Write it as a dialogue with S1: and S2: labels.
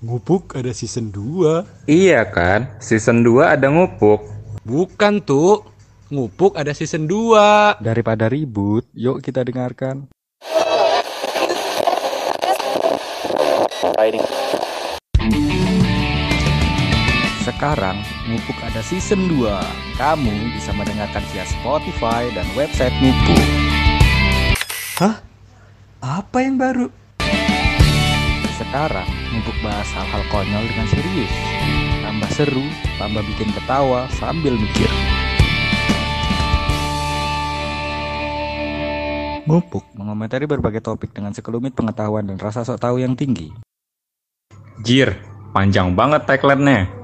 S1: Ngupuk ada season 2.
S2: Iya kan? Season 2 ada ngupuk.
S1: Bukan tuh. Ngupuk ada season 2.
S3: Daripada ribut, yuk kita dengarkan. Sekarang, Mupuk ada season 2. Kamu bisa mendengarkan via Spotify dan website Mupuk.
S4: Hah? Apa yang baru?
S3: Sekarang, Mupuk bahas hal-hal konyol dengan serius. Tambah seru, tambah bikin ketawa sambil mikir. Mupuk mengomentari berbagai topik dengan sekelumit pengetahuan dan rasa sok tahu yang tinggi.
S2: Jir, panjang banget tagline-nya.